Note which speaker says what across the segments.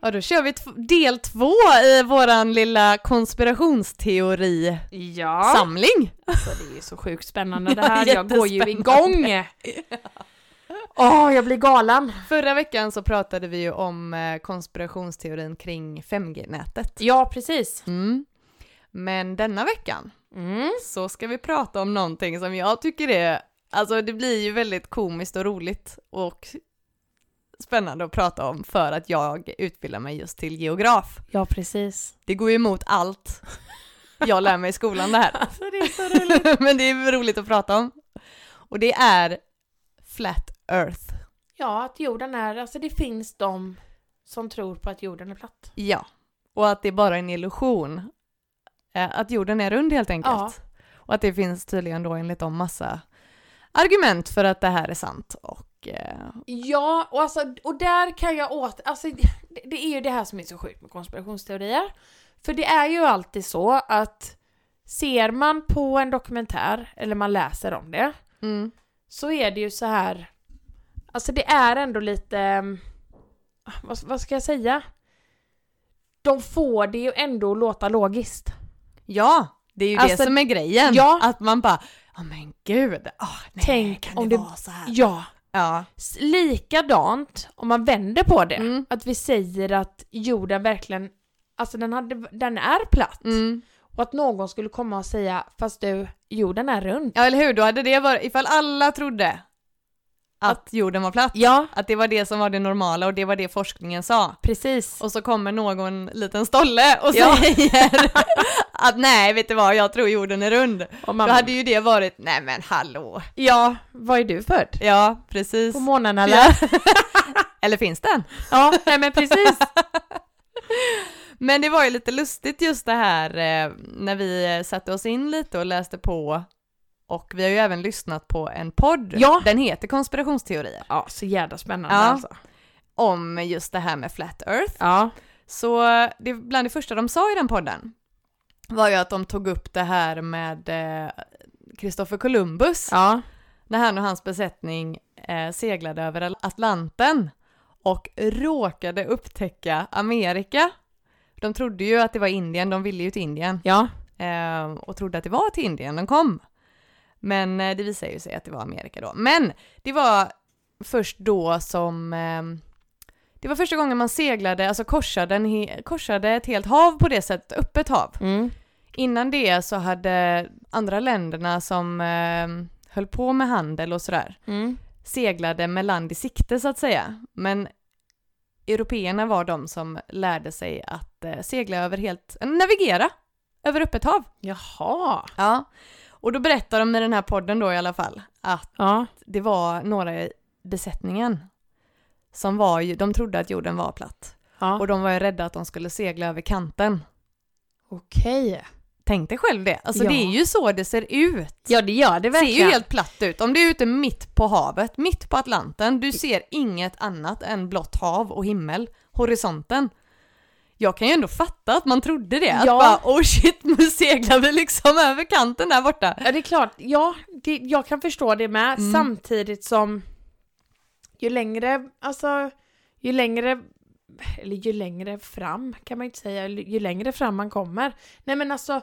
Speaker 1: Ja, då kör vi tv- del två i våran lilla konspirationsteori-samling.
Speaker 2: Ja, alltså, det är ju så sjukt spännande det här. Jag går ju igång!
Speaker 1: Jättespännande.
Speaker 2: Åh, jag blir galen!
Speaker 1: Förra veckan så pratade vi ju om eh, konspirationsteorin kring 5G-nätet.
Speaker 2: Ja, precis.
Speaker 1: Mm. Men denna veckan
Speaker 2: Mm.
Speaker 1: så ska vi prata om någonting som jag tycker är, alltså det blir ju väldigt komiskt och roligt och spännande att prata om för att jag utbildar mig just till geograf.
Speaker 2: Ja, precis.
Speaker 1: Det går ju emot allt jag lär mig i skolan det här.
Speaker 2: Alltså det är så roligt.
Speaker 1: Men det är roligt att prata om. Och det är Flat Earth.
Speaker 2: Ja, att jorden är, alltså det finns de som tror på att jorden är platt.
Speaker 1: Ja, och att det är bara en illusion. Eh, Att jorden är rund helt enkelt.
Speaker 2: Ja.
Speaker 1: Och att det finns tydligen då enligt dem massa argument för att det här är sant. Och eh,
Speaker 2: Ja, och, alltså, och där kan jag åter... Alltså, det, det är ju det här som är så sjukt med konspirationsteorier. För det är ju alltid så att ser man på en dokumentär, eller man läser om det,
Speaker 1: mm,
Speaker 2: så är det ju så här... Alltså det är ändå lite... mm, Vad, vad ska jag säga? De får det ju ändå att låta logiskt.
Speaker 1: ja, det är ju det
Speaker 2: Alltså,
Speaker 1: som är grejen.
Speaker 2: ja.
Speaker 1: Att man bara, ja men gud, ah, nej,
Speaker 2: Tänk
Speaker 1: kan
Speaker 2: om
Speaker 1: det
Speaker 2: det-
Speaker 1: vara så här?
Speaker 2: Ja.
Speaker 1: Ja,
Speaker 2: S- Likadant om man vänder på det.
Speaker 1: Mm.
Speaker 2: Att vi säger att jorden verkligen, alltså den, hade, den är platt.
Speaker 1: mm.
Speaker 2: Och att någon skulle komma och säga fast du, jorden är rund.
Speaker 1: ja eller hur, då hade det varit, ifall alla trodde att, jorden var platt,
Speaker 2: Ja,
Speaker 1: att det var det som var det normala och det var det forskningen sa.
Speaker 2: precis.
Speaker 1: Och så kommer någon liten stolle och
Speaker 2: Ja.
Speaker 1: säger att nej, vet du vad, jag tror jorden är rund.
Speaker 2: Och
Speaker 1: Då
Speaker 2: man,
Speaker 1: hade ju det varit, nej men hallå.
Speaker 2: Ja, var är du född?
Speaker 1: Ja, precis.
Speaker 2: På månen eller?
Speaker 1: Ja. Eller finns den?
Speaker 2: ja, nej men precis.
Speaker 1: Men det var ju lite lustigt just det här eh, när vi eh, satte oss in lite och läste på och vi har ju även lyssnat på en podd,
Speaker 2: Ja.
Speaker 1: den heter Konspirationsteorier,
Speaker 2: Ja, så jävla spännande
Speaker 1: Ja.
Speaker 2: alltså.
Speaker 1: om just det här med Flat Earth.
Speaker 2: Ja.
Speaker 1: Så det, bland det första de sa i den podden var ju att de tog upp det här med eh, Christopher Columbus
Speaker 2: ja.
Speaker 1: när han och hans besättning eh, seglade över Atlanten och råkade upptäcka Amerika. De trodde ju att det var Indien, de ville ju till Indien
Speaker 2: Ja.
Speaker 1: eh, och trodde att det var till Indien de kom. Men eh, det visade ju sig att det var Amerika då. Men det var först då som... Eh, det var första gången man seglade, alltså korsade, en he- korsade ett helt hav på det sättet, öppet hav.
Speaker 2: Mm.
Speaker 1: Innan det så hade andra länderna som eh, höll på med handel och sådär
Speaker 2: Mm.
Speaker 1: seglade med land i sikte så att säga. Men européerna var de som lärde sig att eh, segla över helt, navigera över öppet hav.
Speaker 2: Jaha.
Speaker 1: Ja, och då berättar de i den här podden då i alla fall att
Speaker 2: Ja.
Speaker 1: det var några i besättningen som var ju, de trodde att jorden var platt
Speaker 2: ja.
Speaker 1: och de var ju rädda att de skulle segla över kanten.
Speaker 2: Okej.
Speaker 1: Tänk dig själv det, alltså
Speaker 2: Ja.
Speaker 1: det är ju så det ser ut.
Speaker 2: Ja, det gör det
Speaker 1: Det ser
Speaker 2: verkligen.
Speaker 1: ju helt platt ut. Om du är ute mitt på havet, mitt på Atlanten, du ser inget annat än blått hav och himmel, horisonten. Jag kan ju ändå fatta att man trodde det,
Speaker 2: Ja.
Speaker 1: att bara oh shit, nu seglar vi liksom över kanten där borta.
Speaker 2: Ja det är klart, ja det, jag kan förstå det med
Speaker 1: Mm.
Speaker 2: samtidigt som ju längre, alltså ju längre, eller ju längre fram kan man ju inte säga, eller ju längre fram man kommer. Nej men alltså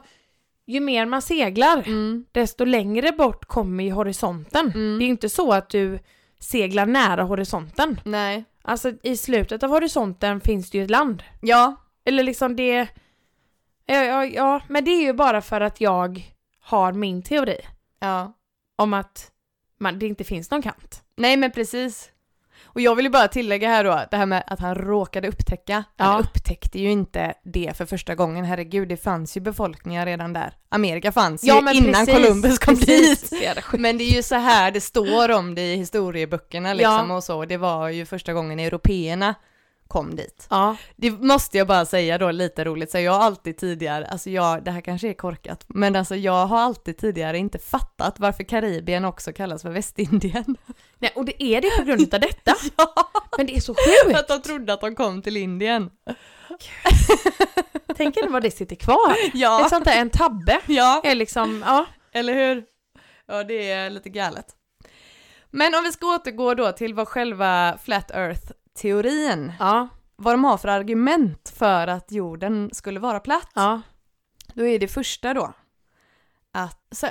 Speaker 2: ju mer man seglar
Speaker 1: Mm.
Speaker 2: desto längre bort kommer ju horisonten.
Speaker 1: Mm.
Speaker 2: Det är ju inte så att du seglar nära horisonten.
Speaker 1: Nej.
Speaker 2: Alltså i slutet av horisonten finns det ju ett land.
Speaker 1: Ja,
Speaker 2: Eller liksom det, ja, ja, ja men det är ju bara för att jag har min teori
Speaker 1: Ja.
Speaker 2: om att man, det inte finns någon kant.
Speaker 1: Nej men precis. Och jag vill ju bara tillägga här då, det här med att han råkade upptäcka. Han
Speaker 2: Ja.
Speaker 1: upptäckte ju inte det för första gången, herregud det fanns ju befolkningar redan där. Amerika fanns
Speaker 2: Ja,
Speaker 1: ju
Speaker 2: men
Speaker 1: innan
Speaker 2: precis,
Speaker 1: Columbus kom dit.
Speaker 2: Det
Speaker 1: Men det är ju så här det står om det i historieböckerna liksom
Speaker 2: Ja.
Speaker 1: och så. Det var ju första gången européerna kom dit.
Speaker 2: ja.
Speaker 1: Det måste jag bara säga då, lite roligt, så jag har alltid tidigare, alltså jag, det här kanske är korkat, men alltså jag har alltid tidigare inte fattat varför Karibien också kallas för Västindien.
Speaker 2: Nej, och det är det på grund av detta.
Speaker 1: Ja.
Speaker 2: Men det är så
Speaker 1: För
Speaker 2: sjukt.
Speaker 1: att de trodde att de kom till Indien.
Speaker 2: Tänk er vad det sitter kvar.
Speaker 1: Ja,
Speaker 2: Liksom där en tabbe.
Speaker 1: ja
Speaker 2: Är liksom, ja.
Speaker 1: eller hur? Ja, det är lite galet. Men om vi ska återgå då till vad själva Flat Earth-teorin
Speaker 2: ja.
Speaker 1: vad de har för argument för att jorden skulle vara platt.
Speaker 2: Ja.
Speaker 1: Då är det första då att så,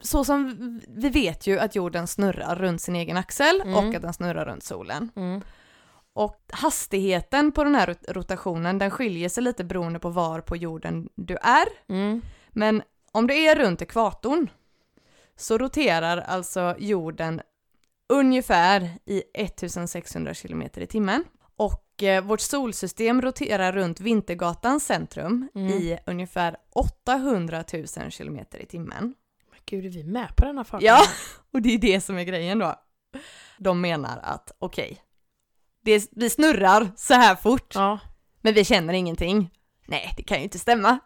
Speaker 1: så som vi vet ju att jorden snurrar runt sin egen axel
Speaker 2: Mm.
Speaker 1: och att den snurrar runt solen.
Speaker 2: Mm.
Speaker 1: Och hastigheten på den här rot- rotationen den skiljer sig lite beroende på var på jorden du är.
Speaker 2: Mm.
Speaker 1: Men om du är runt ekvatorn så roterar alltså jorden ungefär i 1600 km i timmen. Och eh, vårt solsystem roterar runt Vintergatans centrum
Speaker 2: Mm.
Speaker 1: i ungefär 800 000 km i timmen.
Speaker 2: Men gud, är vi med på den här farten?
Speaker 1: Ja, och det är det som är grejen då. De menar att okej, det- vi snurrar så här fort,
Speaker 2: Ja.
Speaker 1: men vi känner ingenting. Nej, det kan ju inte stämma.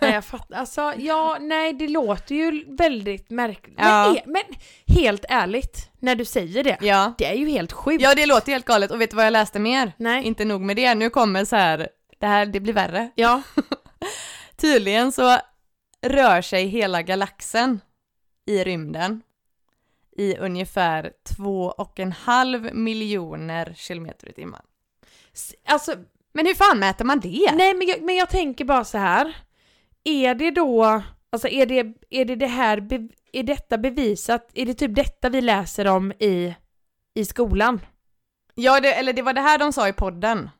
Speaker 2: Nej, jag fattar. Alltså, ja, nej, det låter ju väldigt märkligt.
Speaker 1: Ja.
Speaker 2: Men, he- men helt ärligt, när du säger det,
Speaker 1: Ja.
Speaker 2: det är ju helt sjukt.
Speaker 1: ja, det låter helt galet. Och vet du vad jag läste mer?
Speaker 2: Nej.
Speaker 1: Inte nog med det, nu kommer så här, det här, det blir värre.
Speaker 2: Ja.
Speaker 1: Tydligen så rör sig hela galaxen i rymden i ungefär två och en halv miljoner kilometer i timmen.
Speaker 2: S- Alltså,
Speaker 1: Men hur fan mäter man det?
Speaker 2: nej, men jag, men jag tänker bara så här. Är det då, alltså är det, är det, det här, be- är detta bevisat? Är det typ detta vi läser om i, i skolan?
Speaker 1: Ja, det, eller det var det här de sa i podden.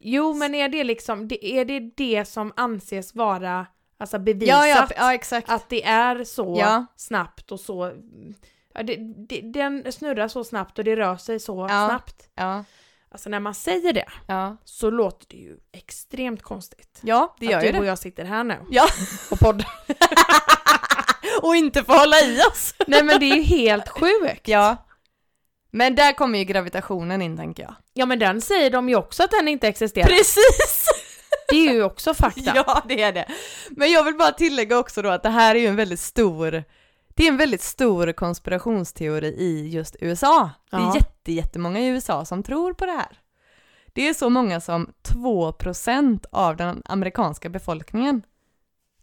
Speaker 2: Jo, men är det liksom, det, är det det som anses vara, alltså bevisat?
Speaker 1: Ja, ja, ja, exakt.
Speaker 2: att det är så
Speaker 1: Ja.
Speaker 2: snabbt och så... Ja, det, det, den snurrar så snabbt och det rör sig så
Speaker 1: Ja.
Speaker 2: snabbt.
Speaker 1: Ja,
Speaker 2: Alltså när man säger det
Speaker 1: ja.
Speaker 2: så låter det ju extremt konstigt.
Speaker 1: ja det gör
Speaker 2: att
Speaker 1: ju
Speaker 2: du och
Speaker 1: det.
Speaker 2: jag sitter här nu.
Speaker 1: Ja. Och podden. och inte få hålla i oss.
Speaker 2: Nej men det är ju helt sjukt.
Speaker 1: Ja. Men där kommer ju gravitationen in, tänker jag.
Speaker 2: Ja men den säger de ju också att den inte existerar.
Speaker 1: Precis!
Speaker 2: Det är ju också fakta.
Speaker 1: Ja, det är det. Men jag vill bara tillägga också då att det här är ju en väldigt stor, det är en väldigt stor konspirationsteori i just USA. Det är
Speaker 2: Ja.
Speaker 1: jätte, jättemånga i USA som tror på det här. Det är så många som 2% av den amerikanska befolkningen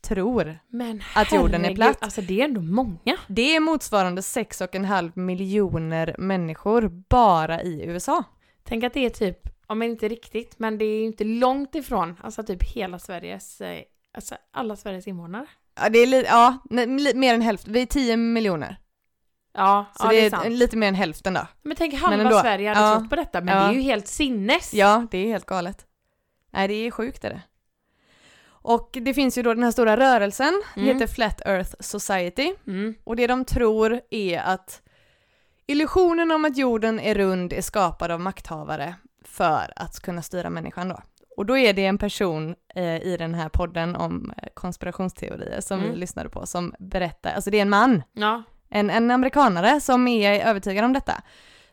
Speaker 1: tror.
Speaker 2: Men
Speaker 1: Att jorden är
Speaker 2: herregud,
Speaker 1: platt.
Speaker 2: Alltså det är ändå många.
Speaker 1: Det är motsvarande 6,5 miljoner människor bara i USA.
Speaker 2: Tänk att det är typ, ja men inte riktigt, men det är ju inte långt ifrån, alltså typ hela Sveriges, eh, alltså alla Sveriges invånare.
Speaker 1: Ja, det är li- ja, nej, li- mer än hälften. Vi är 10 miljoner.
Speaker 2: Ja,
Speaker 1: Så
Speaker 2: ja
Speaker 1: det,
Speaker 2: det
Speaker 1: är
Speaker 2: är sant.
Speaker 1: lite mer än hälften då.
Speaker 2: Men tänk halva
Speaker 1: Men ändå.
Speaker 2: Sverige hade
Speaker 1: Ja.
Speaker 2: trott på detta, men
Speaker 1: Ja.
Speaker 2: det är ju helt sinnes.
Speaker 1: Ja, det är helt galet. Nej, det är sjukt är det. Och det finns ju då den här stora rörelsen,
Speaker 2: Mm.
Speaker 1: heter Flat Earth Society.
Speaker 2: Mm.
Speaker 1: Och det de tror är att illusionen om att jorden är rund är skapad av makthavare för att kunna styra människan då. Och då är det en person eh, i den här podden om eh, konspirationsteorier som vi
Speaker 2: Mm.
Speaker 1: lyssnade på som berättar, alltså det är en man
Speaker 2: Ja.
Speaker 1: en, en amerikanare som är övertygad om detta,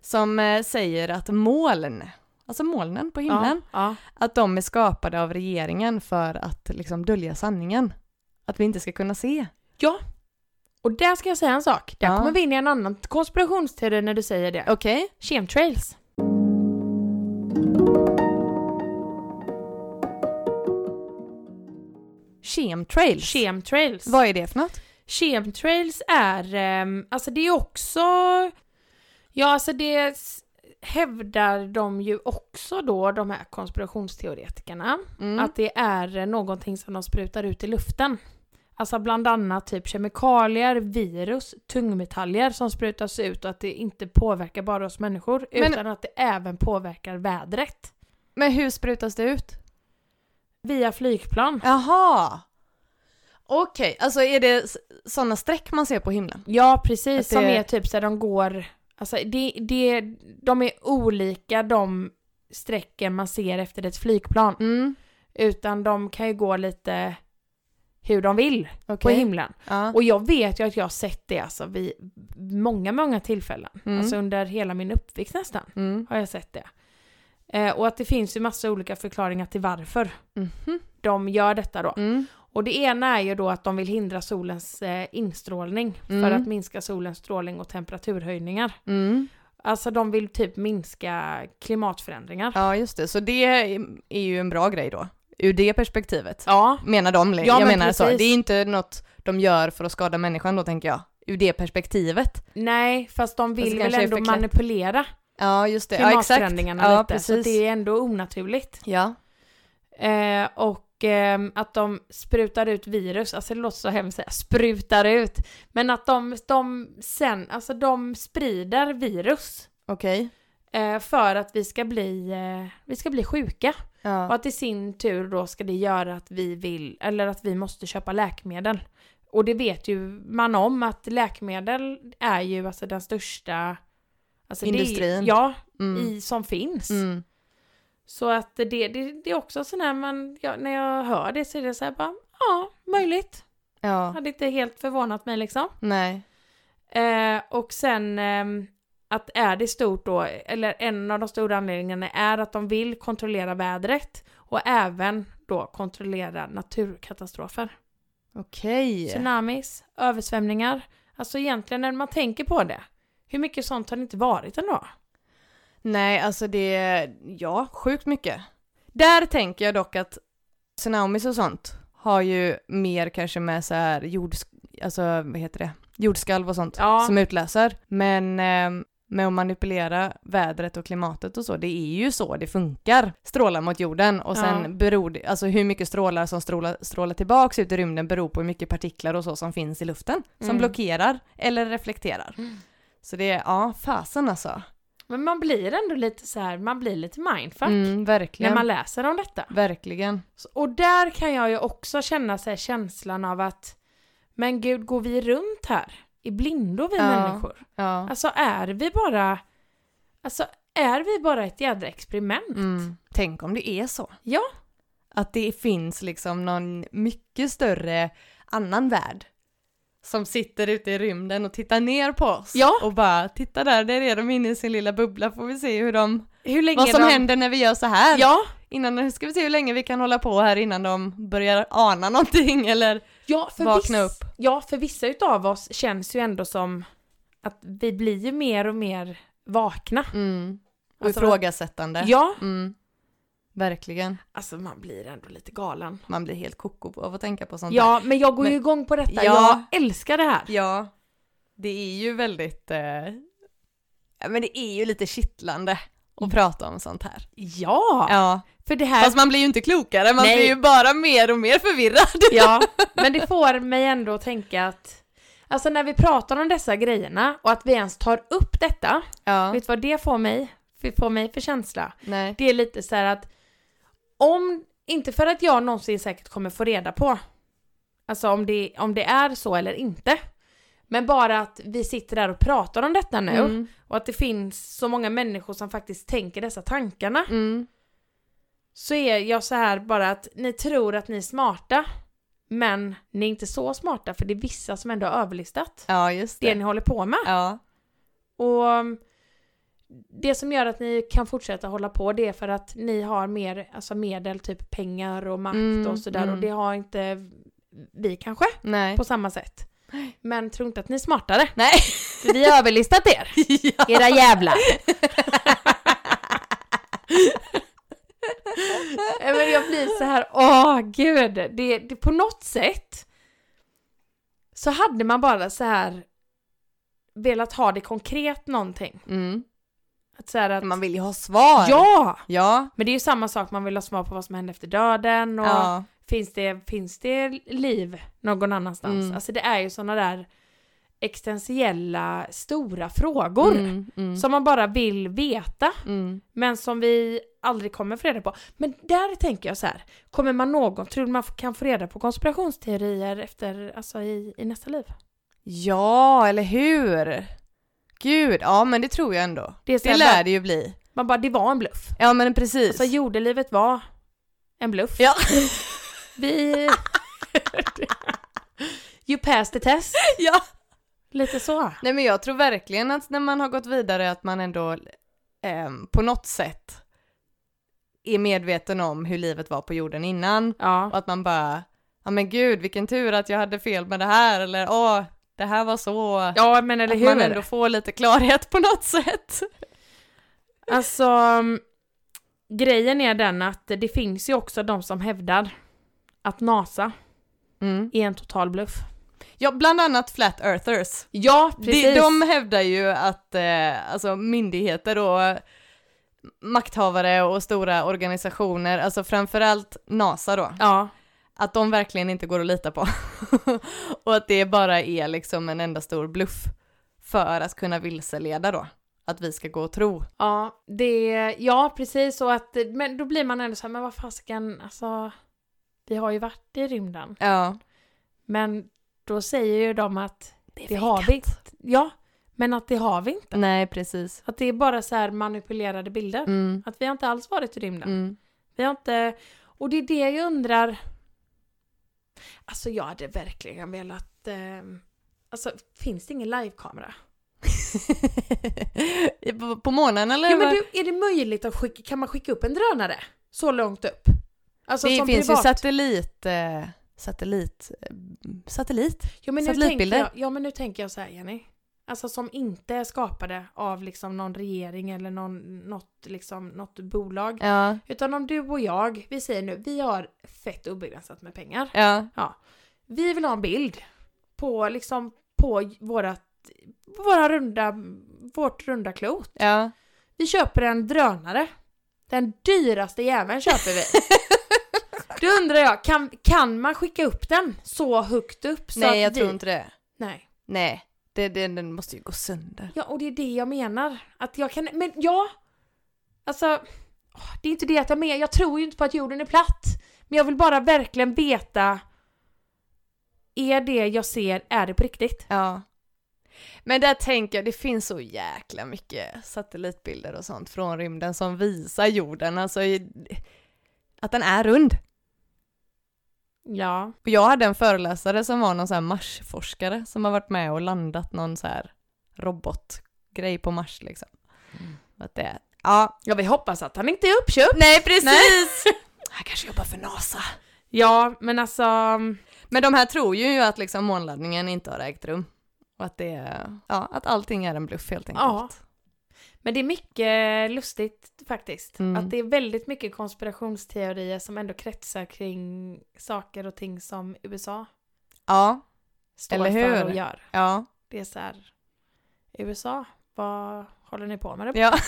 Speaker 1: som eh, säger att moln, alltså molnen på himlen,
Speaker 2: Ja.
Speaker 1: att de är skapade av regeringen för att liksom dölja sanningen. Att vi inte ska kunna se.
Speaker 2: Och där ska jag säga en sak. Där
Speaker 1: Ja.
Speaker 2: kommer vi in i en annan konspirationsteori när du säger det.
Speaker 1: Okej?
Speaker 2: Chemtrails.
Speaker 1: Chemtrails.
Speaker 2: Chemtrails.
Speaker 1: Vad är det för något?
Speaker 2: Chemtrails är, ehm, alltså det är också, ja alltså det s- hävdar de ju också då, de här konspirationsteoretikerna,
Speaker 1: Mm.
Speaker 2: att det är eh, någonting som de sprutar ut i luften. Alltså bland annat typ kemikalier, virus, tungmetaller som sprutas ut och att det inte påverkar bara oss människor
Speaker 1: Men-
Speaker 2: utan att det även påverkar vädret.
Speaker 1: Men hur sprutas det ut?
Speaker 2: Via flygplan.
Speaker 1: Jaha! Okej, alltså är det s- sådana streck man ser på himlen?
Speaker 2: Ja
Speaker 1: Att
Speaker 2: precis,
Speaker 1: det-
Speaker 2: som är typ så här, de går, alltså det, det, de är olika de strecken man ser efter ett flygplan.
Speaker 1: Mm,
Speaker 2: Utan de kan ju gå lite hur de vill
Speaker 1: okej.
Speaker 2: på himlen.
Speaker 1: Ja.
Speaker 2: Och jag vet ju att jag har sett det alltså vid många, många tillfällen.
Speaker 1: Mm.
Speaker 2: Alltså under hela min uppväxt nästan
Speaker 1: Mm.
Speaker 2: har jag sett det. Eh, och att det finns ju massa olika förklaringar till varför
Speaker 1: Mhm.
Speaker 2: de gör detta då.
Speaker 1: Mm.
Speaker 2: Och det ena är ju då att de vill hindra solens eh, instrålning för
Speaker 1: Mm.
Speaker 2: att minska solens strålning och temperaturhöjningar.
Speaker 1: Mm.
Speaker 2: Alltså de vill typ minska klimatförändringar.
Speaker 1: Ja, just det. Så det är- är ju en bra grej då, ur det perspektivet.
Speaker 2: Ja,
Speaker 1: menar de. Ja,
Speaker 2: Ja,
Speaker 1: jag
Speaker 2: men
Speaker 1: menar så.
Speaker 2: precis.
Speaker 1: Det är inte något de gör för att skada människan då tänker jag. Ur det perspektivet.
Speaker 2: nej, fast de
Speaker 1: Fast det
Speaker 2: vill väl
Speaker 1: kanske är
Speaker 2: ändå
Speaker 1: förklätt.
Speaker 2: manipulera.
Speaker 1: Ja, just det. Ja, exakt.
Speaker 2: klimatförändringarna
Speaker 1: Ja,
Speaker 2: lite. Så
Speaker 1: precis.
Speaker 2: det är ändå onaturligt.
Speaker 1: Ja.
Speaker 2: Eh, och ehm, att de sprutar ut virus, alltså det låter så hemskt att säga, sprutar ut. Men att de, de sen, alltså de sprider virus
Speaker 1: Okej.
Speaker 2: eh, för att vi ska bli, eh, vi ska bli sjuka. Och
Speaker 1: Ja.
Speaker 2: att i sin tur då ska det göra att vi vill, eller att vi måste köpa läkemedel. Och det vet ju man om att läkemedel är ju alltså den största alltså det är-
Speaker 1: Industrin.
Speaker 2: ja,
Speaker 1: Mm.
Speaker 2: i, som finns.
Speaker 1: Mm.
Speaker 2: Så att det, det, det är också sån här, man, ja, när jag hör det så är det så här bara, ja, möjligt.
Speaker 1: Ja.
Speaker 2: Hade inte helt förvånat mig liksom.
Speaker 1: Nej.
Speaker 2: Eh, och sen ehm, att är det stort då, eller en av de stora anledningarna är att de vill kontrollera vädret och även då kontrollera naturkatastrofer.
Speaker 1: Okej.
Speaker 2: Tsunamis, översvämningar. Alltså egentligen när man tänker på det, hur mycket sånt har det inte varit ändå?
Speaker 1: Nej, alltså det, ja, sjukt mycket. Där tänker jag dock att tsunamis och sånt har ju mer kanske med så här jord, alltså vad heter det, jordskalv och sånt
Speaker 2: Ja.
Speaker 1: som utlöser. Men eh, med att manipulera vädret och klimatet och så, det är ju så det funkar. Strålar mot jorden och sen
Speaker 2: Ja.
Speaker 1: beror det, alltså hur mycket strålar som strålar, strålar tillbaks ut i rymden beror på hur mycket partiklar och så som finns i luften som
Speaker 2: Mm.
Speaker 1: blockerar eller reflekterar. Så det är, ja, fasen alltså.
Speaker 2: Men man blir ändå lite så här, man blir lite mindfuck
Speaker 1: Mm,
Speaker 2: när
Speaker 1: verkligen.
Speaker 2: man läser om detta.
Speaker 1: Verkligen.
Speaker 2: Så- Och där kan jag ju också känna så här känslan av att men gud, går vi runt här? I blindo vi
Speaker 1: Ja.
Speaker 2: människor?
Speaker 1: Ja.
Speaker 2: Alltså är vi bara Alltså är vi bara ett jädra experiment?
Speaker 1: Mm. Tänk om det är så.
Speaker 2: Ja.
Speaker 1: Att det finns liksom någon mycket större annan värld som sitter ute i rymden och tittar ner på oss
Speaker 2: Ja.
Speaker 1: och bara titta där, där är de inne i sin lilla bubbla får vi se hur de,
Speaker 2: Hur länge
Speaker 1: vad som
Speaker 2: de...
Speaker 1: händer när vi gör så här.
Speaker 2: Ja,
Speaker 1: Innan, nu ska vi se hur länge vi kan hålla på här innan de börjar ana någonting eller
Speaker 2: ja, för
Speaker 1: Vakna
Speaker 2: viss... ja, för vissa utav oss känns ju ändå som att vi blir ju mer och mer vakna.
Speaker 1: mm. och
Speaker 2: Alltså-
Speaker 1: ifrågasättande.
Speaker 2: Ja,
Speaker 1: Mm. Verkligen.
Speaker 2: alltså man blir ändå lite galen.
Speaker 1: Man blir helt koko av att tänka på sånt
Speaker 2: Ja, men jag går ju
Speaker 1: Men-
Speaker 2: igång på detta.
Speaker 1: Ja.
Speaker 2: Jag älskar det här.
Speaker 1: Ja, det är ju väldigt, eh, ja, men det är ju lite kittlande att prata om sånt här.
Speaker 2: Ja,
Speaker 1: Ja,
Speaker 2: för det här
Speaker 1: fast man blir ju inte klokare, man
Speaker 2: Nej.
Speaker 1: blir ju bara mer och mer förvirrad.
Speaker 2: Ja, men det får mig ändå att tänka att Alltså när vi pratar om dessa grejerna och att vi ens tar upp detta,
Speaker 1: Ja,
Speaker 2: vet du vad det får mig? Det får mig för känsla?
Speaker 1: nej.
Speaker 2: Det är lite så här att om, inte för att jag någonsin säkert kommer få reda på, alltså om det, om det är så eller inte, men bara att vi sitter där och pratar om detta nu
Speaker 1: Mm,
Speaker 2: och att det finns så många människor som faktiskt tänker dessa tankarna
Speaker 1: mm,
Speaker 2: så är jag så här bara att ni tror att ni är smarta, men ni är inte så smarta för det är vissa som ändå har överlistat
Speaker 1: ja, just
Speaker 2: det
Speaker 1: det.
Speaker 2: ni håller på med.
Speaker 1: Ja,
Speaker 2: Och um, det som gör att ni kan fortsätta hålla på det är för att ni har mer alltså medel, typ pengar och makt
Speaker 1: Mm,
Speaker 2: och sådär
Speaker 1: mm.
Speaker 2: och det har inte vi kanske
Speaker 1: nej.
Speaker 2: på samma sätt. Men tro inte att ni är smartare,
Speaker 1: Nej.
Speaker 2: för vi har överlistat er,
Speaker 1: ja.
Speaker 2: era jävlar! Nej, men jag blir så här, åh gud, det, det på något sätt så hade man bara så här velat ha det konkret någonting.
Speaker 1: Mm.
Speaker 2: Att så här att,
Speaker 1: Man vill ju ha svar.
Speaker 2: ja!
Speaker 1: Ja.
Speaker 2: Men det är ju samma sak, man vill ha svar på vad som händer efter döden och
Speaker 1: Ja.
Speaker 2: finns, det, finns det liv någon annanstans?
Speaker 1: Mm.
Speaker 2: Alltså det är ju sådana där existentiella stora frågor
Speaker 1: Mm, mm,
Speaker 2: som man bara vill veta
Speaker 1: mm.
Speaker 2: men som vi aldrig kommer få reda på. Men där tänker jag så här, kommer man någon, tror du man kan få reda på konspirationsteorier efter, alltså i, i nästa liv?
Speaker 1: ja, eller hur? Gud, ja men det tror jag ändå.
Speaker 2: Det är så
Speaker 1: Det
Speaker 2: här,
Speaker 1: lär
Speaker 2: bara,
Speaker 1: det ju bli.
Speaker 2: man bara, det var en bluff.
Speaker 1: Ja men precis.
Speaker 2: Alltså jordelivet var en bluff.
Speaker 1: Ja.
Speaker 2: Vi... you passed the test.
Speaker 1: ja.
Speaker 2: Lite så.
Speaker 1: Nej men jag tror verkligen att när man har gått vidare att man ändå ehm, på något sätt är medveten om hur livet var på jorden innan
Speaker 2: Ja.
Speaker 1: och att man bara, ja men gud vilken tur att jag hade fel med det här eller åh, det här var så.
Speaker 2: Ja men eller
Speaker 1: att man
Speaker 2: hur?
Speaker 1: ändå får lite klarhet på något sätt.
Speaker 2: Alltså grejen är den att det finns ju också de som hävdar att NASA
Speaker 1: Mm.
Speaker 2: är en total bluff.
Speaker 1: Ja, bland annat Flat Earthers.
Speaker 2: Ja, precis.
Speaker 1: De, de hävdar ju att eh, alltså myndigheter och eh, makthavare och stora organisationer, alltså framförallt NASA då,
Speaker 2: Ja.
Speaker 1: att de verkligen inte går att lita på. och att det bara är liksom en enda stor bluff för att kunna vilseleda då. Att vi ska gå och tro.
Speaker 2: Ja, det, ja precis. Och att, men då blir man ändå så här, men vad fasiken, alltså. Vi har ju varit i rymden.
Speaker 1: Ja.
Speaker 2: Men då säger ju de att
Speaker 1: Det,
Speaker 2: har vi inte. Ja, men att det har vi inte.
Speaker 1: Nej, precis.
Speaker 2: Att det är bara så här manipulerade bilder.
Speaker 1: Mm.
Speaker 2: Att vi har inte alls varit i rymden.
Speaker 1: Mm.
Speaker 2: Vi har inte... Och det är det jag undrar. Alltså jag hade verkligen velat... Eh, alltså finns det ingen livekamera?
Speaker 1: I- på, på månen eller?
Speaker 2: Ja, men
Speaker 1: vad?
Speaker 2: du, är det möjligt att skicka... Kan man skicka upp en drönare? Så långt upp? Alltså
Speaker 1: det
Speaker 2: som
Speaker 1: finns
Speaker 2: privat?
Speaker 1: ju satellit, eh, satellit, eh, satellit.
Speaker 2: Ja men, nu tänker
Speaker 1: Satellitbilder.
Speaker 2: jag, ja men nu tänker jag så här Jenny. Alltså som inte är skapade av liksom någon regering eller någon, något, liksom, något bolag.
Speaker 1: Ja,
Speaker 2: Utan om du och jag, vi säger nu, vi har fett obegränsat med pengar.
Speaker 1: ja,
Speaker 2: Vi vill ha en bild på liksom på vårat, våra runda, vårt runda klot.
Speaker 1: ja.
Speaker 2: Vi köper en drönare. Den dyraste jäveln köper vi. Då undrar jag, kan, kan man skicka upp den så högt upp? Så att
Speaker 1: Nej, jag
Speaker 2: vi,
Speaker 1: tror inte det.
Speaker 2: Nej.
Speaker 1: Nej, det, det, den måste ju gå sönder.
Speaker 2: Ja, och det är det jag menar. Att jag kan, men ja. Alltså, åh, det är inte det att jag menar. Jag tror ju inte på att jorden är platt. Men jag vill bara verkligen veta. Är det jag ser, är det på riktigt?
Speaker 1: Ja. Men där tänker jag, det finns så jäkla mycket satellitbilder och sånt från rymden som visar jorden, alltså i- att den är rund.
Speaker 2: Ja.
Speaker 1: Och jag hade en föreläsare som var någon så här Marsforskare som har varit med och landat någon så här robotgrej på Mars liksom. Att det, ja,
Speaker 2: Ja, vi hoppas att han inte är uppköpt.
Speaker 1: Nej precis! Han kanske jobbar för NASA.
Speaker 2: Ja, men alltså.
Speaker 1: Men de här tror ju att liksom månlandningen inte har ägt rum. Och att det är, ja, att allting är en bluff helt enkelt.
Speaker 2: Ja. Men det är mycket lustigt faktiskt.
Speaker 1: Mm.
Speaker 2: Att det är väldigt mycket konspirationsteorier som ändå kretsar kring saker och ting som USA
Speaker 1: Ja,
Speaker 2: står
Speaker 1: Eller
Speaker 2: för
Speaker 1: hur?
Speaker 2: och gör.
Speaker 1: ja,
Speaker 2: Det är så här, USA, vad håller ni på med? Det?
Speaker 1: ja.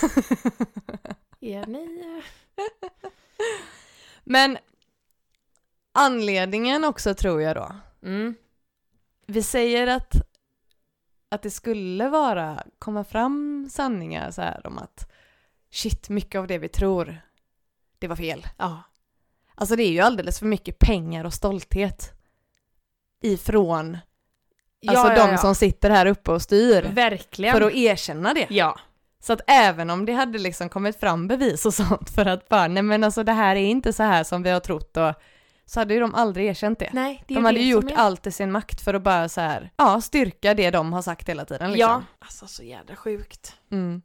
Speaker 2: Är ni... eh,
Speaker 1: Men anledningen också tror jag då. Mm. Vi säger att, att det skulle vara, komma fram sanningar så här om att shit, mycket av det vi tror, det var fel.
Speaker 2: Ja.
Speaker 1: Alltså det är ju alldeles för mycket pengar och stolthet ifrån Alltså de som sitter här uppe och styr.
Speaker 2: Verkligen.
Speaker 1: För att erkänna det.
Speaker 2: Ja.
Speaker 1: Så att även om det hade liksom kommit fram bevis och sånt för att bara, nej men alltså det här är inte så här som vi har trott och så hade ju de aldrig erkänt det.
Speaker 2: Nej, det är
Speaker 1: de hade
Speaker 2: det
Speaker 1: ju
Speaker 2: som
Speaker 1: gjort
Speaker 2: är-
Speaker 1: allt i sin makt för att bara så här, ja, styrka det de har sagt hela tiden
Speaker 2: Ja.
Speaker 1: liksom.
Speaker 2: Alltså så jävla sjukt.
Speaker 1: Ja. Mm.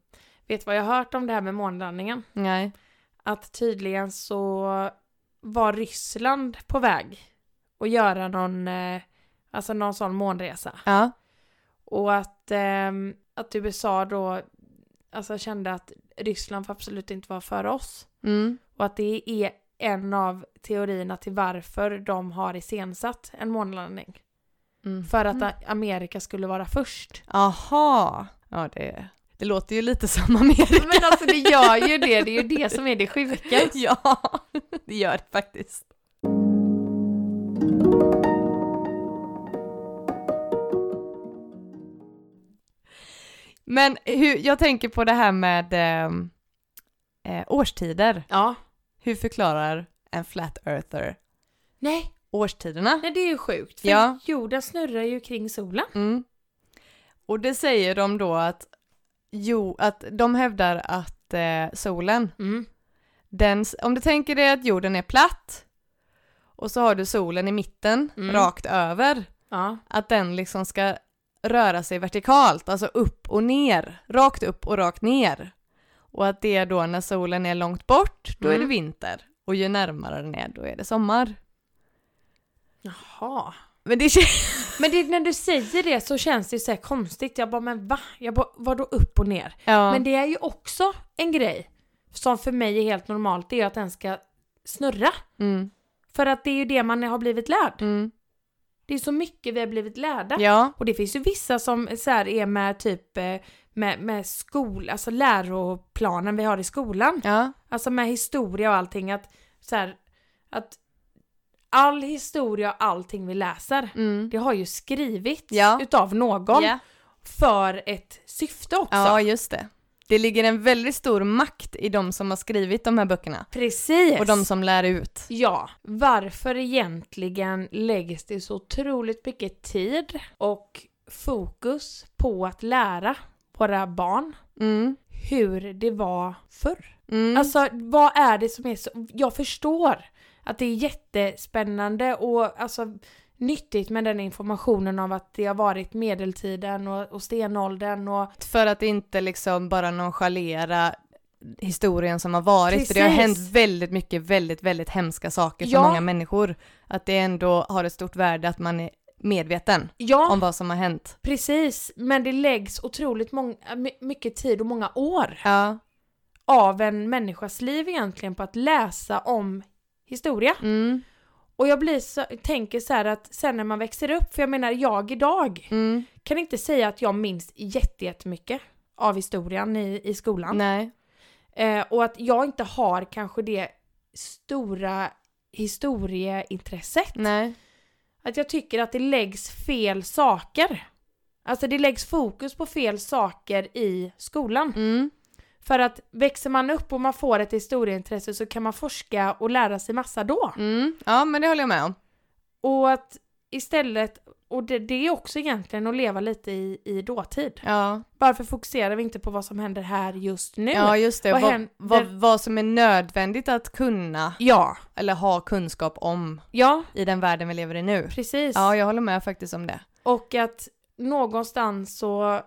Speaker 2: Vet du vad jag har hört om det här med månlandningen?
Speaker 1: Nej.
Speaker 2: Att tydligen så var Ryssland på väg att göra någon, eh, alltså någon sån månresa.
Speaker 1: Ja.
Speaker 2: Och att, ehm, att USA då alltså kände att Ryssland får absolut inte vara före oss.
Speaker 1: Mm.
Speaker 2: Och att det är en av teorierna till varför de har iscensatt en månlandning.
Speaker 1: Mm.
Speaker 2: För att eh, A- Amerika skulle vara först.
Speaker 1: Aha. Ja, det, det låter ju lite som Amerika.
Speaker 2: Men alltså det gör ju det, det är ju det som är det sjuka.
Speaker 1: Ja, det gör det faktiskt. Men hur, jag tänker på det här med ehm, eh, årstider.
Speaker 2: Ja.
Speaker 1: Hur förklarar en flat earther
Speaker 2: Nej,
Speaker 1: årstiderna?
Speaker 2: nej det är ju sjukt. För
Speaker 1: Ja.
Speaker 2: jorden snurrar ju kring solen.
Speaker 1: Mm. Och det säger de då att, jo, att de hävdar att eh, solen
Speaker 2: Mm.
Speaker 1: den, om du tänker dig att jorden är platt och så har du solen i mitten,
Speaker 2: Mm.
Speaker 1: rakt över,
Speaker 2: Ja.
Speaker 1: att den liksom ska röra sig vertikalt, alltså upp och ner, rakt upp och rakt ner. Och att det är då när solen är långt bort, då är
Speaker 2: Mm.
Speaker 1: det vinter. Och ju närmare den är, då är det sommar.
Speaker 2: Jaha.
Speaker 1: Men det känns...
Speaker 2: Men det, när du säger det så känns det ju så här konstigt. Jag bara, men va? Jag bara, vadå upp och ner?
Speaker 1: Ja.
Speaker 2: Men det är ju också en grej som för mig är helt normalt, det är att den ska snurra.
Speaker 1: Mm,
Speaker 2: För att det är ju det man har blivit lärd.
Speaker 1: mm.
Speaker 2: Det är så mycket vi har blivit lärda.
Speaker 1: Ja.
Speaker 2: Och det finns ju vissa som så här är med typ eh, med, med skol, alltså läroplanen vi har i skolan.
Speaker 1: Ja.
Speaker 2: Alltså med historia och allting att så här, att all historia och allting vi läser
Speaker 1: Mm.
Speaker 2: det har ju skrivits
Speaker 1: Ja.
Speaker 2: utav någon
Speaker 1: Ja.
Speaker 2: för ett syfte också.
Speaker 1: ja, just det. Det ligger en väldigt stor makt i de som har skrivit de här böckerna
Speaker 2: Precis!
Speaker 1: och de som lär ut.
Speaker 2: Ja, varför egentligen läggs det så otroligt mycket tid och fokus på att lära våra barn
Speaker 1: Mm.
Speaker 2: hur det var förr?
Speaker 1: Mm.
Speaker 2: Alltså vad är det som är så... Jag förstår att det är jättespännande och alltså nyttigt med den informationen av att det har varit medeltiden och, och stenåldern och
Speaker 1: för att inte liksom bara nonchalera historien som har varit. För det har hänt
Speaker 2: Precis.
Speaker 1: väldigt mycket väldigt, väldigt hemska saker för
Speaker 2: Ja.
Speaker 1: många människor. Att det ändå har ett stort värde att man är medveten
Speaker 2: ja,
Speaker 1: om vad som har hänt.
Speaker 2: precis. Men det läggs otroligt mång- my- mycket tid och många år
Speaker 1: Ja,
Speaker 2: av en människas liv egentligen på att läsa om historia.
Speaker 1: mm,
Speaker 2: Och jag blir så, tänker så här att sen när man växer upp, för jag menar jag idag
Speaker 1: mm,
Speaker 2: kan inte säga att jag minns jätte- jättemycket av historien i, i skolan.
Speaker 1: nej,
Speaker 2: Eh, och att jag inte har kanske det stora historieintresset.
Speaker 1: nej,
Speaker 2: Att jag tycker att det läggs fel saker. Alltså det läggs fokus på fel saker i skolan.
Speaker 1: mm,
Speaker 2: För att växer man upp och man får ett historieintresse så kan man forska och lära sig massa då.
Speaker 1: mm, ja men det håller jag med om.
Speaker 2: Och att istället, och det, det är också egentligen att leva lite i, i dåtid.
Speaker 1: Ja,
Speaker 2: Varför fokuserar vi inte på vad som händer här just nu?
Speaker 1: ja just det,
Speaker 2: Vad
Speaker 1: vad,
Speaker 2: händer-
Speaker 1: vad, vad, som är nödvändigt att kunna
Speaker 2: ja,
Speaker 1: eller ha kunskap om
Speaker 2: ja,
Speaker 1: i den världen vi lever i nu.
Speaker 2: precis.
Speaker 1: Ja, jag håller med faktiskt om det.
Speaker 2: Och att någonstans så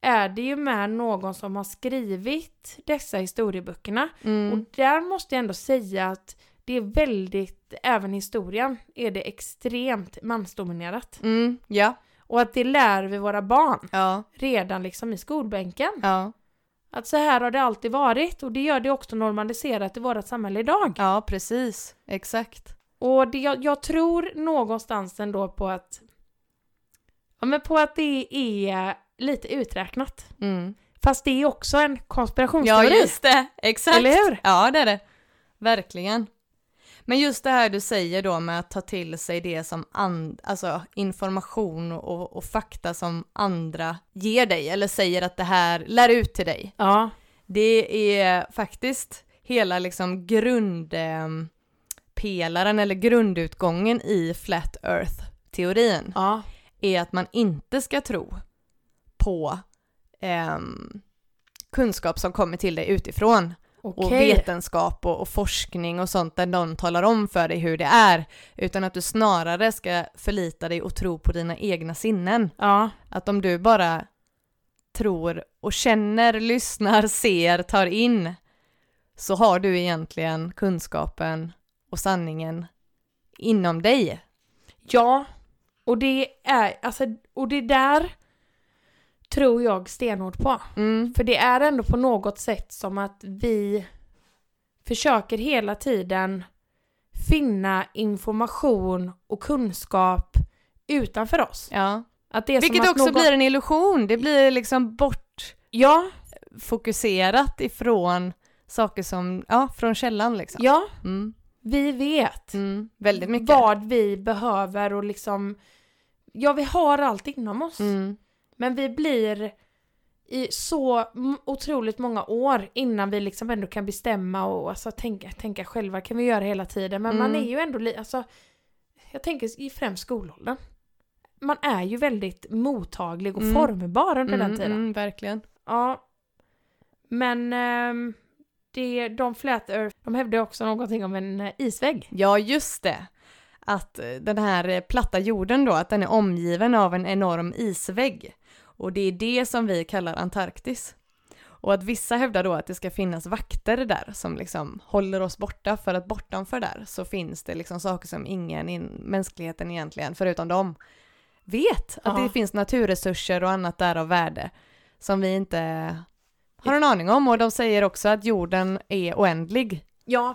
Speaker 2: är det ju med någon som har skrivit dessa historieböckerna.
Speaker 1: Mm,
Speaker 2: Och där måste jag ändå säga att det är väldigt, även historien, är det extremt mansdominerat.
Speaker 1: mm, ja,
Speaker 2: Och att det lär vi våra barn
Speaker 1: ja,
Speaker 2: redan liksom i skolbänken.
Speaker 1: ja,
Speaker 2: Att så här har det alltid varit och det gör det också normaliserat i vårt samhälle idag.
Speaker 1: ja precis, exakt.
Speaker 2: Och det, jag, jag tror någonstans ändå på att ja, men på att det är lite uträknat.
Speaker 1: Mm.
Speaker 2: Fast det är också en
Speaker 1: Ja,
Speaker 2: konspirationsteori.
Speaker 1: just det. Exakt.
Speaker 2: Eller hur?
Speaker 1: Ja, det är det. Verkligen. Men just det här du säger då med att ta till sig det som and, alltså information och, och fakta som andra ger dig eller säger att det här lär ut till dig.
Speaker 2: ja.
Speaker 1: Det är faktiskt hela liksom grundpelaren eller grundutgången i flat earth-teorin
Speaker 2: ja.
Speaker 1: är att man inte ska tro på ehm, kunskap som kommer till dig utifrån
Speaker 2: Okej.
Speaker 1: och vetenskap och, och forskning och sånt där någon talar om för dig hur det är utan att du snarare ska förlita dig och tro på dina egna sinnen.
Speaker 2: Ja.
Speaker 1: Att om du bara tror och känner, lyssnar, ser, tar in så har du egentligen kunskapen och sanningen inom dig.
Speaker 2: Ja. Och det är, alltså, och det där tror jag stenhårt på.
Speaker 1: Mm.
Speaker 2: För det är ändå på något sätt som att vi försöker hela tiden finna information och kunskap utanför oss.
Speaker 1: Ja.
Speaker 2: Att det är som
Speaker 1: Vilket
Speaker 2: att
Speaker 1: också
Speaker 2: någon...
Speaker 1: blir en illusion, det blir liksom bortfokuserat
Speaker 2: Ja,
Speaker 1: ifrån saker som, ja, från källan liksom.
Speaker 2: ja,
Speaker 1: Mm,
Speaker 2: vi vet
Speaker 1: mm, väldigt mycket.
Speaker 2: vad vi behöver och liksom... Ja, vi har allt inom oss.
Speaker 1: Mm,
Speaker 2: Men vi blir i så m- otroligt många år innan vi liksom ändå kan bestämma och alltså, tänka, tänka själva kan vi göra hela tiden. Men man
Speaker 1: Mm.
Speaker 2: är ju ändå li- alltså, jag tänker i främst skolåldern. Man är ju väldigt mottaglig och
Speaker 1: Mm.
Speaker 2: formbar under
Speaker 1: mm,
Speaker 2: den tiden.
Speaker 1: mm, verkligen.
Speaker 2: Ja. Men ehm, det, de flat earth, de hävdar också någonting om en eh, isvägg.
Speaker 1: Ja, just det. Att eh, den här eh, platta jorden då, att den är omgiven av en enorm isvägg. Och det är det som vi kallar Antarktis. Och att vissa hävdar då att det ska finnas vakter där som liksom håller oss borta för att bortanför där så finns det liksom saker som ingen i mänskligheten egentligen, förutom dem, vet. Att
Speaker 2: Ja.
Speaker 1: det finns naturresurser och annat där av värde som vi inte har en aning om. Och de säger också att jorden är oändlig.
Speaker 2: Ja,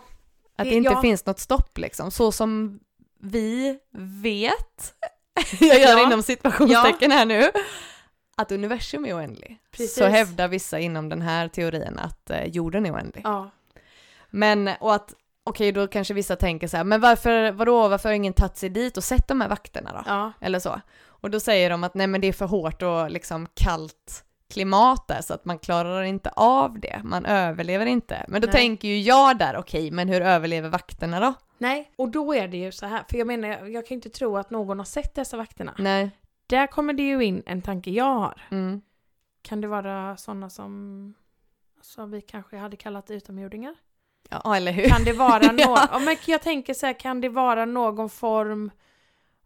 Speaker 1: Att
Speaker 2: Det-
Speaker 1: det inte
Speaker 2: ja.
Speaker 1: finns något stopp liksom, så som vi vet jag gör
Speaker 2: Ja.
Speaker 1: inom situationstecken här nu, att universum är oändlig.
Speaker 2: Precis.
Speaker 1: Så hävdar vissa inom den här teorin att eh, jorden är oändlig.
Speaker 2: Ja.
Speaker 1: Men, och att, okej då kanske vissa tänker så här, men varför, vadå, varför har ingen tagit sig dit och sett de här vakterna då?
Speaker 2: ja.
Speaker 1: Eller så. Och då säger de att nej men det är för hårt och liksom kallt klimat där så att man klarar inte av det, man överlever inte. Men då
Speaker 2: Nej.
Speaker 1: tänker ju jag där, okej men hur överlever vakterna då?
Speaker 2: Nej, och då är det ju så här. För jag menar, jag, jag kan inte tro att någon har sett dessa vakterna.
Speaker 1: Nej.
Speaker 2: Där kommer det ju in en tanke jag har.
Speaker 1: Mm.
Speaker 2: Kan det vara sådana som, som vi kanske hade kallat utomjordingar?
Speaker 1: Ja eller hur?
Speaker 2: Kan det vara någon,
Speaker 1: Ja.
Speaker 2: ja. men jag tänker så här, kan det vara någon form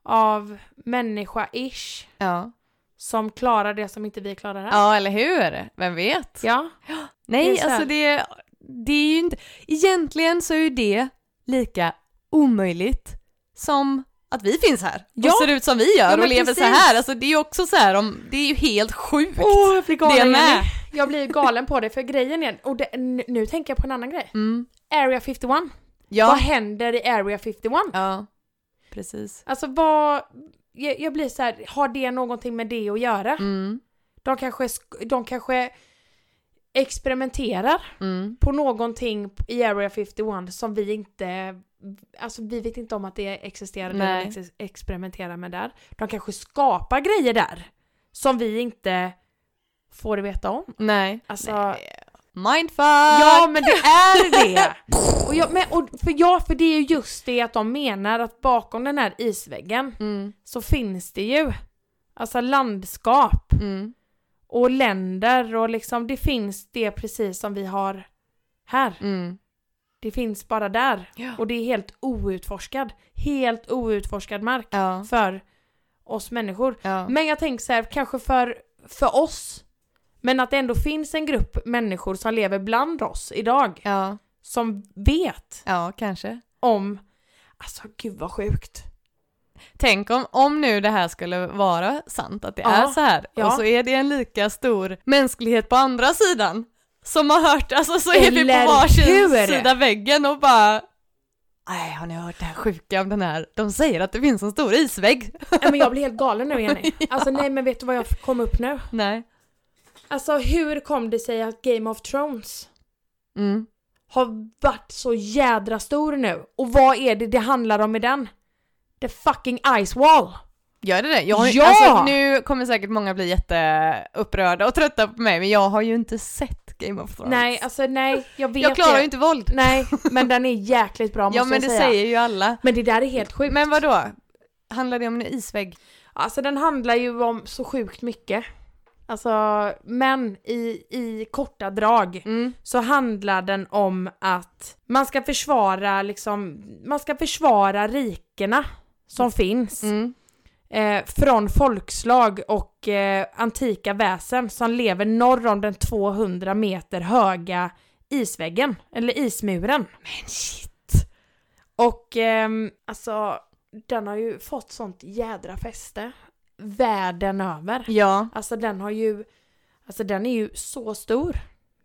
Speaker 2: av människa-ish
Speaker 1: Ja.
Speaker 2: som klarar det som inte vi klarar här?
Speaker 1: ja eller hur? Vem vet?
Speaker 2: Ja,
Speaker 1: Nej
Speaker 2: Det är så här.
Speaker 1: alltså det, det är ju inte, egentligen så är ju det lika omöjligt som att vi finns här och
Speaker 2: Ja.
Speaker 1: ser ut som vi gör
Speaker 2: Ja, men
Speaker 1: och lever så
Speaker 2: precis.
Speaker 1: här. Alltså det är ju också så här om, det är ju helt sjukt.
Speaker 2: Åh, jag blir galen
Speaker 1: det är
Speaker 2: Jenny.
Speaker 1: med.
Speaker 2: Jag blir galen på det för grejen är, och det, n- nu tänker jag på en annan grej.
Speaker 1: Mm.
Speaker 2: Area 51.
Speaker 1: Ja.
Speaker 2: Vad händer i Area 51?
Speaker 1: Ja, precis.
Speaker 2: Alltså vad, jag, jag blir så här, har det någonting med det att göra?
Speaker 1: Mm,
Speaker 2: De kanske, sk- de kanske experimenterar
Speaker 1: mm,
Speaker 2: på någonting i Area 51 som vi inte, alltså vi vet inte om att det existerar eller
Speaker 1: Nej.
Speaker 2: ex- experimenterar med där. De kanske skapar grejer där som vi inte får veta om.
Speaker 1: nej.
Speaker 2: Alltså,
Speaker 1: Mindfuck!
Speaker 2: Ja men det är det! Och jag, men, och för, ja, för det är ju just det att de menar att bakom den här isväggen
Speaker 1: Mm,
Speaker 2: så finns det ju alltså landskap
Speaker 1: mm,
Speaker 2: och länder och liksom det finns det precis som vi har här.
Speaker 1: mm.
Speaker 2: Det finns bara där
Speaker 1: Ja.
Speaker 2: och det är helt outforskad, helt outforskad mark
Speaker 1: Ja,
Speaker 2: för oss människor.
Speaker 1: ja.
Speaker 2: Men jag tänker så här, kanske för, för oss, men att det ändå finns en grupp människor som lever bland oss idag
Speaker 1: Ja,
Speaker 2: som vet
Speaker 1: ja, kanske.
Speaker 2: om, alltså gud vad sjukt.
Speaker 1: Tänk om, om nu det här skulle vara sant, att det
Speaker 2: Ja,
Speaker 1: är så här.
Speaker 2: ja.
Speaker 1: Och så är det en lika stor mänsklighet på andra sidan som har hört, alltså så är vi
Speaker 2: Eller
Speaker 1: på varsin
Speaker 2: hur?
Speaker 1: sida väggen och bara Nej, har ni hört det här sjuka om den här? De säger att det finns en stor isvägg.
Speaker 2: Nej, men jag blir helt galen nu Jenny. Alltså nej men vet du vad jag kom upp nu?
Speaker 1: Nej.
Speaker 2: Alltså hur kom det sig att Game of Thrones
Speaker 1: Mm.
Speaker 2: har varit så jädra stor nu? Och vad är det det handlar om i den? The fucking ice wall!
Speaker 1: Gör det det? Jag har,
Speaker 2: Ja!
Speaker 1: alltså, nu kommer säkert många bli jätteupprörda och trötta på mig, men jag har ju inte sett Game of Thrones.
Speaker 2: Nej, alltså nej, jag vet
Speaker 1: jag klarar
Speaker 2: det.
Speaker 1: ju inte våld.
Speaker 2: Nej, men den är jäkligt bra måste
Speaker 1: ja, men
Speaker 2: jag
Speaker 1: det
Speaker 2: säga.
Speaker 1: säger ju alla.
Speaker 2: Men det där är helt sjukt.
Speaker 1: Men vad då? Handlar det om en isvägg?
Speaker 2: Alltså den handlar ju om så sjukt mycket. Alltså, men i, i korta drag
Speaker 1: Mm.
Speaker 2: så handlar den om att man ska försvara liksom, man ska försvara rikena som finns.
Speaker 1: Mm.
Speaker 2: eh, från folkslag och eh, antika väsen som lever norr om den 200 meter höga isväggen, eller ismuren.
Speaker 1: Men shit.
Speaker 2: Och ehm, alltså, den har ju fått sånt jädra fäste världen över.
Speaker 1: Ja.
Speaker 2: Alltså den har ju, alltså den är ju så stor,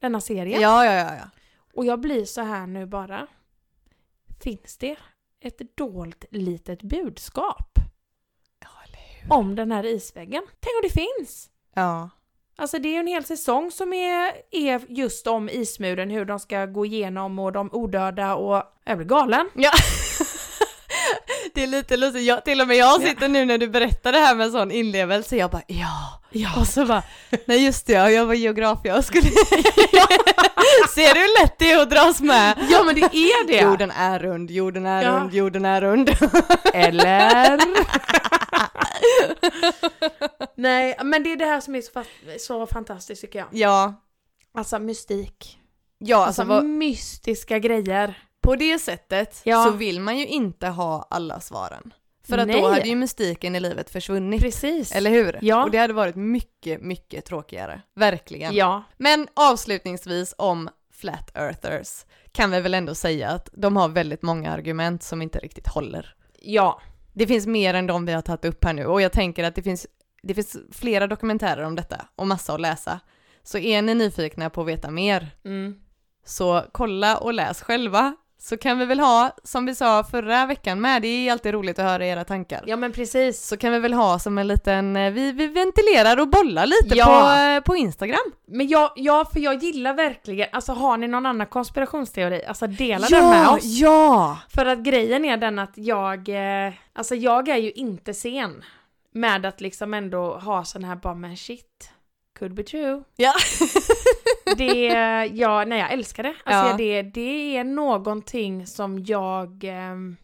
Speaker 2: denna serie.
Speaker 1: Ja, ja, ja. ja.
Speaker 2: Och jag blir så här nu bara, finns det ett dolt litet budskap om den här isväggen? Tänk om det finns!
Speaker 1: Ja.
Speaker 2: Alltså det är ju en hel säsong som är, är just om ismuren, hur de ska gå igenom och de odöda och... Jag blir galen.
Speaker 1: Det är lite lustigt, jag, till och med jag sitter nu när du berättar det här med sån inlevelse, jag bara ja. ja. Och så bara, nej just det, ja, jag var geograf jag skulle... Ser du hur lätt det är att dras med?
Speaker 2: Ja men det är
Speaker 1: Jorden är rund, jorden är
Speaker 2: Ja.
Speaker 1: rund, jorden är rund.
Speaker 2: Eller? Nej, men det är det här som är så, fa- så fantastiskt tycker jag.
Speaker 1: ja,
Speaker 2: Alltså mystik.
Speaker 1: ja
Speaker 2: Alltså,
Speaker 1: alltså, vad,
Speaker 2: mystiska grejer.
Speaker 1: på det sättet
Speaker 2: Ja.
Speaker 1: så vill man ju inte ha alla svaren. För att
Speaker 2: Nej.
Speaker 1: då hade ju mystiken i livet försvunnit.
Speaker 2: Precis.
Speaker 1: Eller hur?
Speaker 2: Ja.
Speaker 1: Och det hade varit mycket, mycket tråkigare. Verkligen.
Speaker 2: Ja.
Speaker 1: Men avslutningsvis om flat earthers kan vi väl ändå säga att de har väldigt många argument som inte riktigt håller.
Speaker 2: Ja.
Speaker 1: Det finns mer än de vi har tagit upp här nu och jag tänker att det finns, det finns flera dokumentärer om detta och massa att läsa. Så är ni nyfikna på att veta mer
Speaker 2: Mm.
Speaker 1: så kolla och läs själva så kan vi väl ha, som vi sa förra veckan med, det är alltid roligt att höra era tankar.
Speaker 2: Ja men precis.
Speaker 1: Så kan vi väl ha som en liten, eh, vi, vi ventilerar och bollar lite
Speaker 2: Ja.
Speaker 1: på, eh, på Instagram.
Speaker 2: Men jag, ja, för jag gillar verkligen, alltså har ni någon annan konspirationsteori, alltså dela den med oss.
Speaker 1: ja!
Speaker 2: För att grejen är den att jag, eh, alltså jag är ju inte sen med att liksom ändå ha sån här bara men shit, could be true.
Speaker 1: Ja.
Speaker 2: det, ja, nej jag älskar det. Alltså
Speaker 1: Ja.
Speaker 2: jag- det, det är någonting som jag, ehm,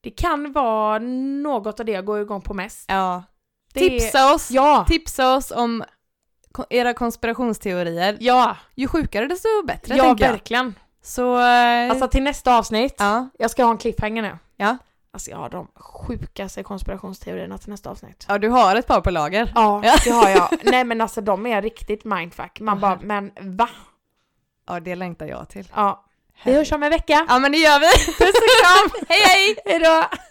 Speaker 2: det kan vara något av det jag går igång på mest.
Speaker 1: ja.
Speaker 2: Det Är,
Speaker 1: Tipsa oss,
Speaker 2: ja!
Speaker 1: tipsa oss om ko- era konspirationsteorier.
Speaker 2: Ja,
Speaker 1: Ju sjukare desto bättre
Speaker 2: ja
Speaker 1: tänker jag.
Speaker 2: verkligen.
Speaker 1: Så, eh,
Speaker 2: Alltså till nästa avsnitt.
Speaker 1: ja.
Speaker 2: Jag ska ha en cliffhanger nu.
Speaker 1: Ja.
Speaker 2: Alltså jag har de sjukaste konspirationsteorierna till nästa avsnitt.
Speaker 1: ja, du har ett par på lager.
Speaker 2: Ja,
Speaker 1: Ja.
Speaker 2: det har jag. Nej men alltså de är riktigt mindfuck. Man
Speaker 1: Åh,
Speaker 2: bara,
Speaker 1: herre.
Speaker 2: men va?
Speaker 1: Ja, det längtar jag till.
Speaker 2: Ja. Vi hörs om en vecka.
Speaker 1: Ja, men det gör vi. Puss och kram! hej hej!
Speaker 2: Hejdå!